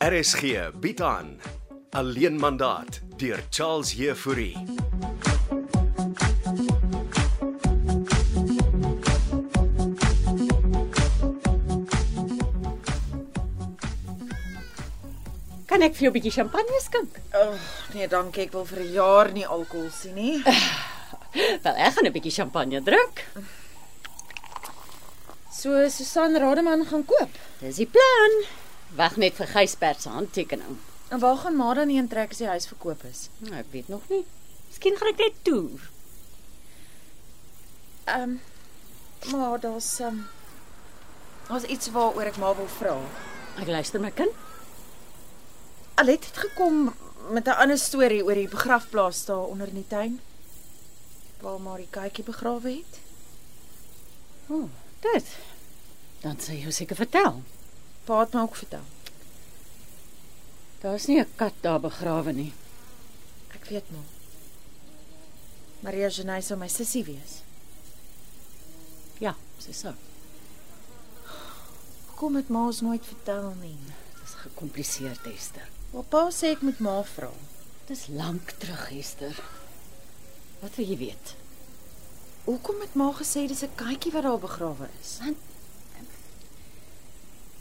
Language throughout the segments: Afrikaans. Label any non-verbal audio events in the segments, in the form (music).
RSG bied aan Alleen mandaat deur Charles Heffouri. Kan ek vir jou 'n bietjie champagne skink? Oh, nee, dankie. Ek wil vir 'n jaar nie alkohol sien nie. Wel, ek gaan 'n bietjie champagne drink. So Susan Rademan gaan koop. Dis die plan. Wag net vir Gysbert se handtekening. En waar gaan Ma dan heen trek as die huis verkoop is? Nou, ek weet nog nie. Miskien gaan ek net toe. Ehm um, maar daar's ehm um, daar's iets waaroor ek maar wil vra. Ek luister my kind. Alet het gekom met 'n ander storie oor die begrafplaas daar onder in die tuin waar maar die katjie begrawe het. O, oh, dit. Dan sê jy seker vertel. Pa het my ook vertel. Daar's nie 'n kat daar begrawe nie. Ek weet maar. Maria Jenay sou my sussie wees. Ja, sy sou. Hoekom het ma ons nooit vertel nie? Dis gekompliseerd, Esther. Maar pa sê ek moet ma vra. Dis lank terug, Esther. Wat wil jy weet? Hoekom het ma gesê dis 'n katjie wat daar begrawe is? Want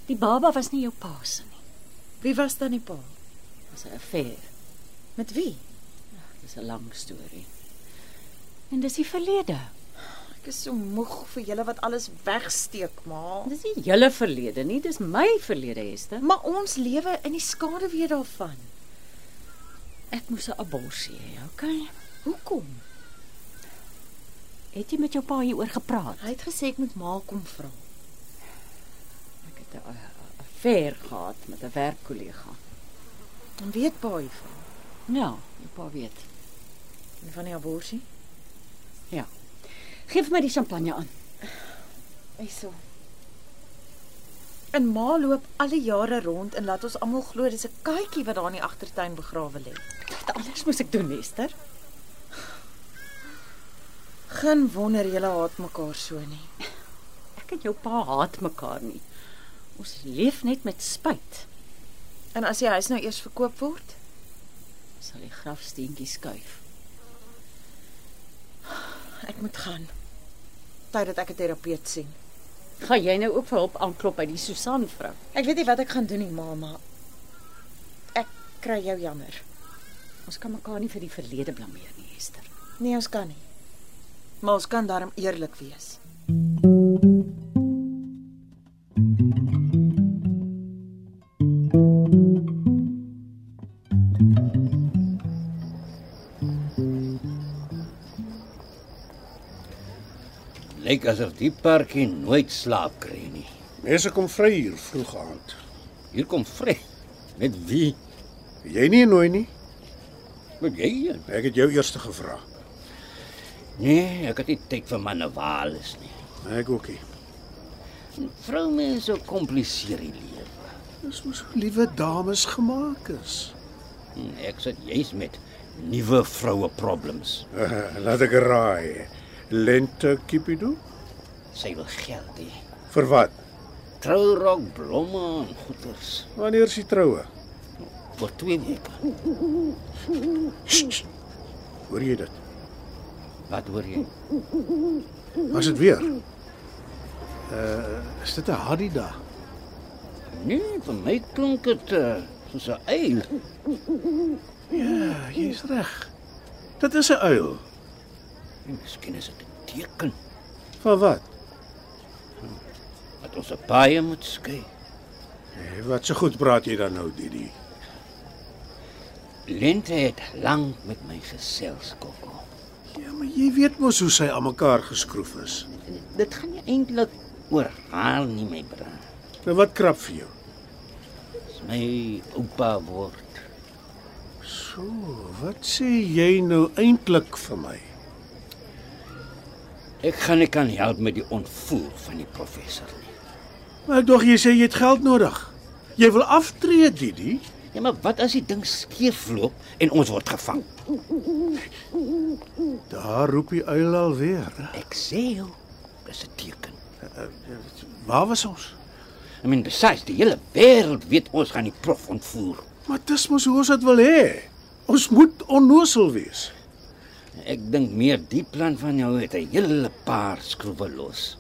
die baba was nie jou pa se nie. Wie was dan die pa? Dit was 'n affair. Met wie? Dis 'n lang storie. En dis die verlede. Ek is so moeg vir julle wat alles wegsteek, ma. Dis nie julle verlede nie, dis my verlede, Esther. Maar ons lewe in die skade weer daarvan. Ek moes 'n abortus hê, okay? Hoekom? Het jy met jou pa hieroor gepraat? Hy het gesê ek moet ma kom vra. Ek het 'n affair gehad met 'n werkkollega. Dan weet pa hiervan. Ja, jou pa weet. En van die abortus? Ja. Geef my die champagne aan. Hyso. En ma loop al die jare rond en laat ons almal glo dis 'n katjie wat daar in die agtertuin begrawe lê. Wat anders moes ek doen, Esther? Geen wonder julle haat mekaar so nie. Ek en jou pa haat mekaar nie. Ons leef net met spyt. En as die huis nou eers verkoop word, Sal die grafsteentjie skuif. ek moet gaan. Tyd dat ek 'n terapeut sien. Gaan jy nou ook vir hulp aanklop by die Susan vrou? Ek weet nie wat ek gaan doen nie, mamma. Ek kry jou jammer. Ons kan mekaar nie vir die verlede blameer nie, Esther. Nee, ons kan nie. Maar ons kan daarom eerlik wees. Lyk asof die parkie nooit slaap kry nie. Mense kom vry hier vroeg aand. Hier kom Fred. Met wie? Jy nie nooi nie. Met jy? een? Ek het jou eers gevra. Nee, ek het nie tyd vir manewales nie. Ek ookie. Vroumense kompliseer die lewe. Dis mos hoe liewe dames gemaak is. En Hm, Ek sit juis met nuwe vroue problems. Uh, (laughs) laat ek raai. Lente Cupido? Sy wil geld hê. Vir wat? Trourok blomme en goeders Wanneer is die troue? vir 2 weke. Hoor jy dit? Wat hoor jy? Was dit weer? Uh, is dit 'n Hadida? Nee, vir my klink dit uh, soos 'n eil. Ja, jy's reg. Dit is 'n uil. En Miskien is dit 'n teken Van wat? dat ons 'n paai moet skei. Hey, Eh, wat so goed praat jy dan nou, Didi? Lente het lank met my gesels, Kokko. Ja, maar jy weet mos hoe sy aan mekaar geskroef is. Dit gaan nie eintlik oor haar nie, my broer. Nou wat krap vir jou? Dis my oupa word. So, wat sê jy nou eintlik vir my? Ek gaan nie kan help met die ontvoer van die professor nie. Maar ek dog jy sê jy het geld nodig. Jy wil aftree, Didi? Ja, maar wat as die ding skeefloop en ons word gevang? Daar roep die uil alweer. Ek sê jou, dis 'n teken. Waar was ons? I mean besides, die hele wêreld weet ons gaan die prof ontvoer. Maar dis mos hoe ons dit wil hê. Ons moet onnosel wees. Ek dink meer die plan van jou het 'n hele paar skroewe los.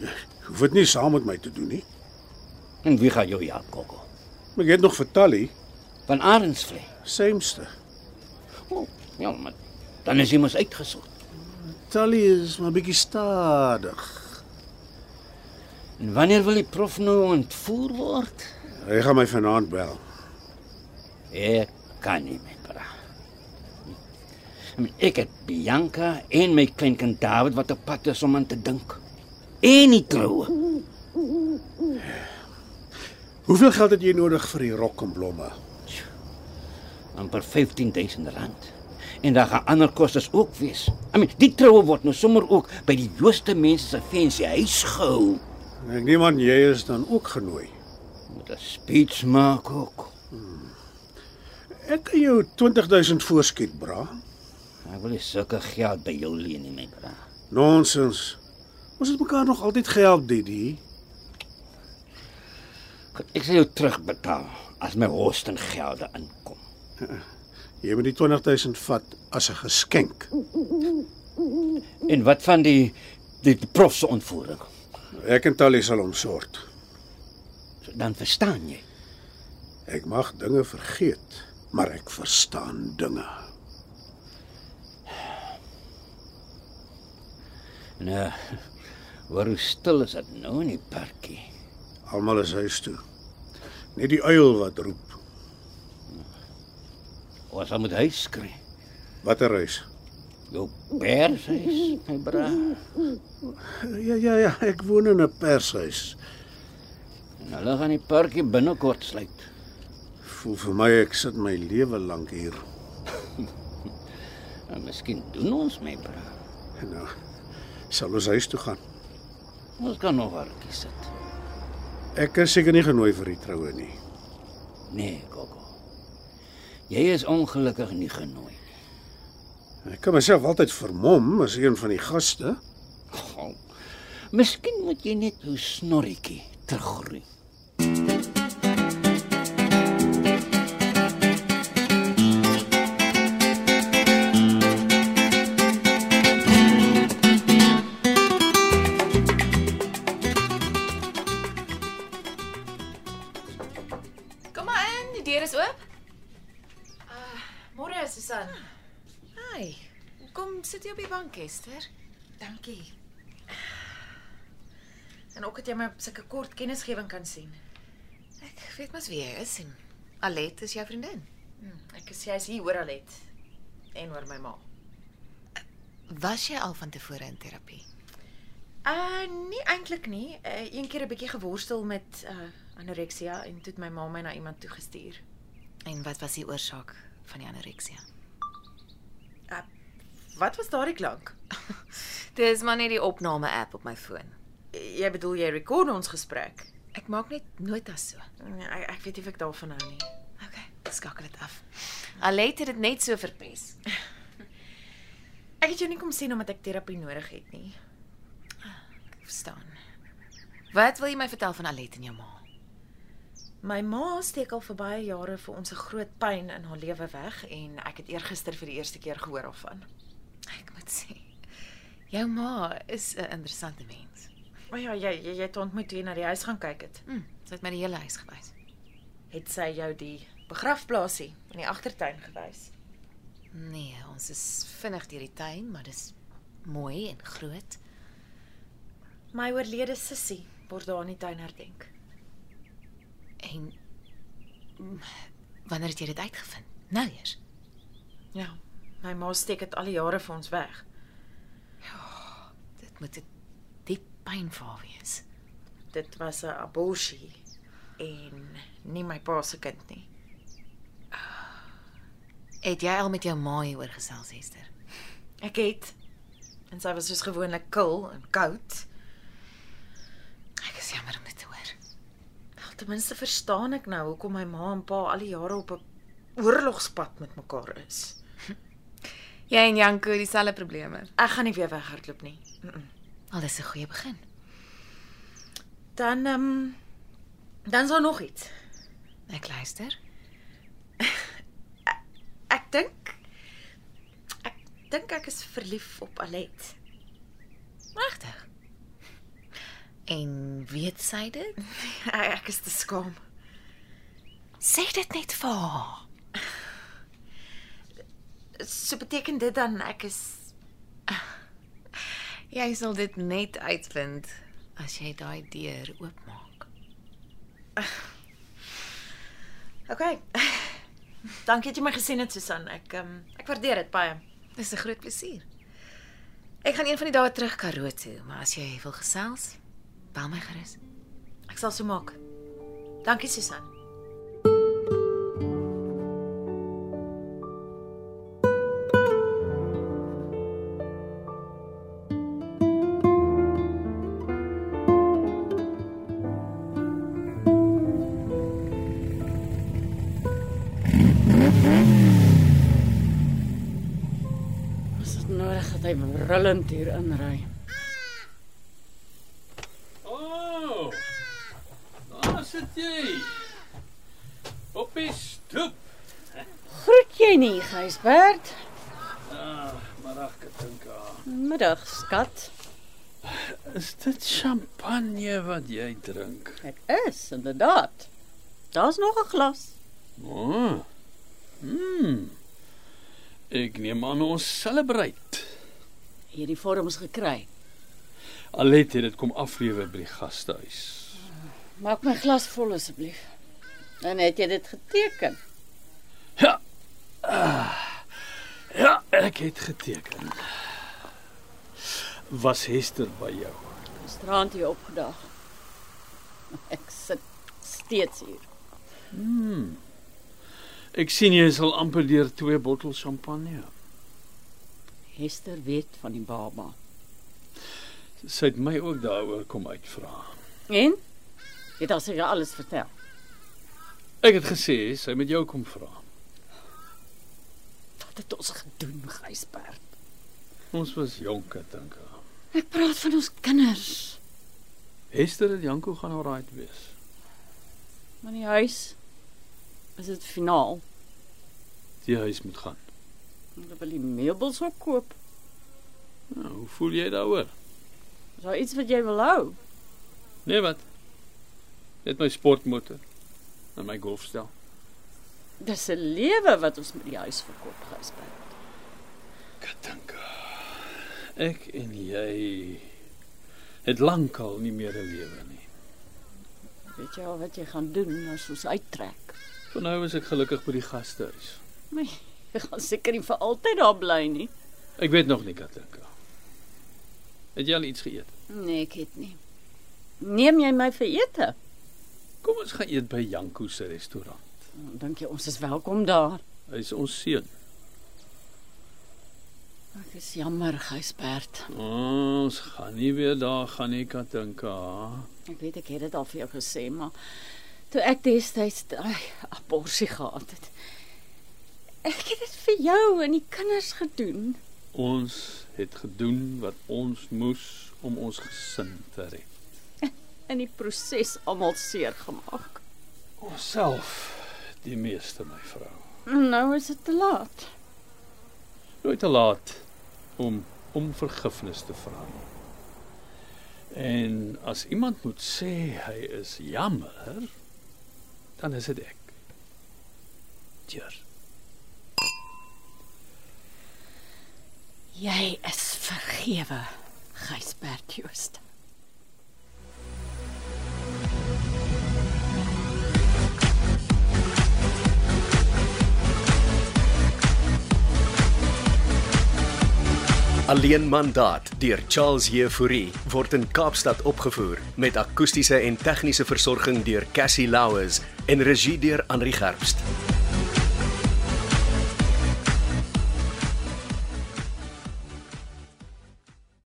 Jy hoef dit nie saam met my te doen nie. En wie gaan jou help, Kokko? Maar jy het nog vir Tally, Van Arendsvlei. Samester. Oh, ja, maar dan is jy mos uitgesoek. Tally is maar bietjie stadig. En wanneer wil die prof nou ontvoer word? Hy gaan my vanaand bel. Ek kan nie meer praat. I mean, Hm, ek het Bianca en my kleinkind David wat op pad is om aan te dink. En die troue. Hoeveel geld het jy nodig vir die rok en blomme? amper 15000 rand. En daar gaan ander kostes ook wees. I mean, die troue word nou sommer ook by die Jooste mense se fancy huis gehou. Ek neem aan jy is dan ook genooi. Moet 'n speech maak ook. Ek kan jou 20000 voorskiet, bra. Ek wil nie sulke geld by jou leen nie, my bra. Nonsens. Ons het mekaar nog altyd gehelp, Didi. Goed, Ek sal jou terugbetaal as my hostengelde inkom. Jy moet die 20000 vat as 'n geskenk. En wat van die die, die prof se ontvoering? Ek en Tally sal hom sort. So, dan verstaan jy. Ek mag dinge vergeet, maar ek verstaan dinge. Nou, waar hoe stil is dit nou in die parkie? Almal is huis toe. Net die uil wat roep. Ons sal moet huis skree. Watter huis? Jou pershuis, my bra. Ja ja ja, ek woon in 'n pershuis. En hulle gaan die parkie binnekort sluit. Voel vir my ek sit my lewe lank hier. En Nou, miskien doen ons my bra. En nou sal ons huis toe gaan. Ons kan nog wel kies dit. Ek is seker nie genooi vir die troue nie. Nee, Gogo. Jy is ongelukkig nie genooi. Ek kan myself altyd vermom as een van die gaste. Oh, miskien moet jy net jou snorretjie teruggroei. Kom maar in, die deur is oop. Ah, Môre, Susan. Hi. Kom sit jy op die bank, Esther? Dankie. En ook dat jy my op sulke kort kennisgewing kan sien. Ek weet mos wie jy is en Alet is jou vriendin. Hm, ek is jy's hier oor Alet en oor my ma. Was jy al van tevore in terapie? Uh nee eintlik nie. Uh, een keer 'n bietjie geworstel met uh anoreksia en toe het my ma my na iemand toegestuur. En wat was die oorsaak van die anoreksia? Eh, Wat was daardie (laughs) klank? Dis maar net die opname-app op my foon. Eh, Jy bedoel jy rekord ons gesprek? Ek maak net notas so. Nee, ek, ek weet nie of ek daarvan hou nie. Okay, skakel dit af. Alet het dit net so verpes. (laughs) Ek het jou nie kom sien omdat ek terapie nodig het nie. Ek verstaan. Wat wil jy my vertel van Alet en jou ma? My ma steek al vir baie jare vir ons 'n groot pyn in haar lewe weg en ek het eergister vir die eerste keer gehoor daarvan. Ek moet sê, jou ma is 'n interessante mens. Maar ja, jy jy, jy het haar ontmoet toe jy na die huis gaan kyk het. Hm, sy het my die hele huis gewys. Het sy jou die begrafplaasie in die agtertuin gewys? Nee, ons is vinnig deur die tuin, maar dis mooi en groot. My oorlede sussie word daar in die tuin herdenk. En mm, wanneer het jy dit uitgevind? Nou eers. Ja, my ma steek dit al die jare vir ons weg. Dit moet 'n diep pyn vir haar wees. Dit was 'n abortus en nie my pa se kind nie. Het jy al met jou ma hieroor gesels, Esther? Ek het en sy was soos gewoonlik kil en koud. Ek is jammer om dit te hoor. Wel, ten minste verstaan ek nou hoekom my ma en pa al die jare op 'n oorlogspad met mekaar is. Jy en Janko het dieselfde probleme. Ek gaan nie weer weghardloop nie. Mm -mm. Al is 'n goeie begin. Dan ehm um, Dan is daar nog iets. Ek luister. Ek dink ek dink ek is verlief op Alet. (laughs) Regtig? En weet sy dit? Ek, ek is te skaam. Sê dit net vir haar. So beteken dit dan ek is Jy sal dit net uitvind as jy daai deur oopmaak. Okay. (laughs) Dankie dat jy my gesien het Susan. Ek ehm ek waardeer dit baie. Dis 'n groot plesier. Ek gaan een van die dae terug Karoo toe, maar as jy wil gesels, bel my gerus. Ek sal so maak. Dankie Susan. Is dit nodig dat hy brullend hier inry? Oh, daar sit jy. Op die stoep. Groet jy nie, Gysbert? Ah, middag Katinka. Middag, skat. ah, Is dit champagne wat jy drink? Dit is inderdaad. Daar's nog 'n glas. Oh. Mm. Ek neem aan ons celebrate. Hierdie vorms gekry. Alet het dit kom aflewer by die gastehuis. Maak my glas vol asseblief. Dan het jy dit geteken. Ja, ek het geteken. Was Hester by jou? Gisterand hier opgedag. (laughs) Ek sit steeds hier. Ek sien jy is al amper deur twee bottels champagne. Hester weet van die baba. Sy het my ook daaroor kom uitvra. En jy het haar seker alles vertel. Ek het gesê sy moet jou kom vra. Wat het ons gedoen, Gysbert? Ons was jonk, ek dink. Ek praat van ons kinders. Hester en Janko gaan alraai wees. Maar die huis is dit finaal. Die huis moet gaan. Hulle wil die meubels opkoop. Nou, hoe voel jy daaroor? Is daar iets wat jy wil hou? Nee wat? Net my sportmotor en my golfstel. Dis 'n lewe wat ons met die huis verkoop gespeel. Katanka. Ek en jy het lankal nie meer 'n lewe nie. Weet jy al wat jy gaan doen as ons uittrek? Van nou is ek gelukkig by die gastehuis. Maar jy gaan seker nie vir altyd daar bly nie. Ek weet nog nie, Katanka. Het jy al iets geëet? Nee, ek het nie. Neem jy my vir ete? Kom ons gaan eet by Janko se restaurant. Dan dink jy ons is welkom daar. Hy is ons seun. Ek is jammer, Gysbert. Ons gaan nie weer daar gaan nie, Katanka. Ek weet ek het dit al vir jou gesê, maar toe ek destyds daai abortus gehad het, ek het dit vir jou en die kinders gedoen. Ons het gedoen wat ons moes om ons gesin te red. In die proses almal seer gemaak. Onsself die meeste, my vrou. Nou is dit te laat. Nooit te laat om om vergifnis te vra nie. En as iemand moet sê hy is jammer, dan is dit ek. Tjeur. Jy is vergewe, Gysbert Joost. Alleen mandaat deur Charles Jefouri word in Kaapstad opgevoer met akoestiese en tegniese versorging deur Cassie Louws en regie deur Henri Gerst.